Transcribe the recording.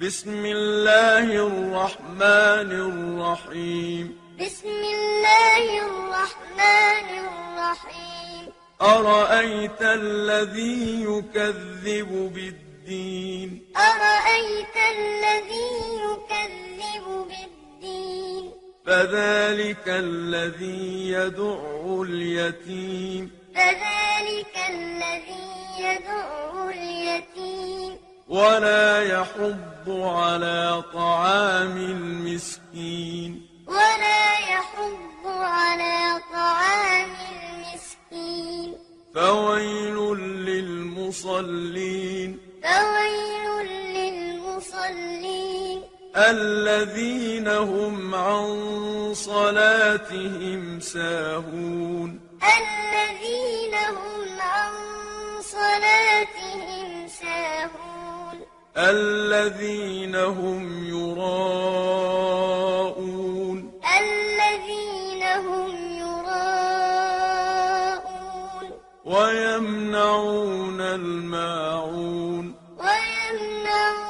بسم الله الرحمن الرحيم بسم الله الرحمن الرحيم أرأيت الذي يكذب بالدين أرأيت الذي يكذب بالدين فذلك الذي يدع اليتيم فذلك الذي يدعو اليتيم ولا يحض على طعام المسكين ولا يحض على طعام المسكين فويل للمصلين فويل للمصلين الذين هم عن صلاتهم ساهون الذين هم عن صلاتهم ساهون الذين هم يراءون الذين هم يراءون ويمنعون الماعون ويمنعون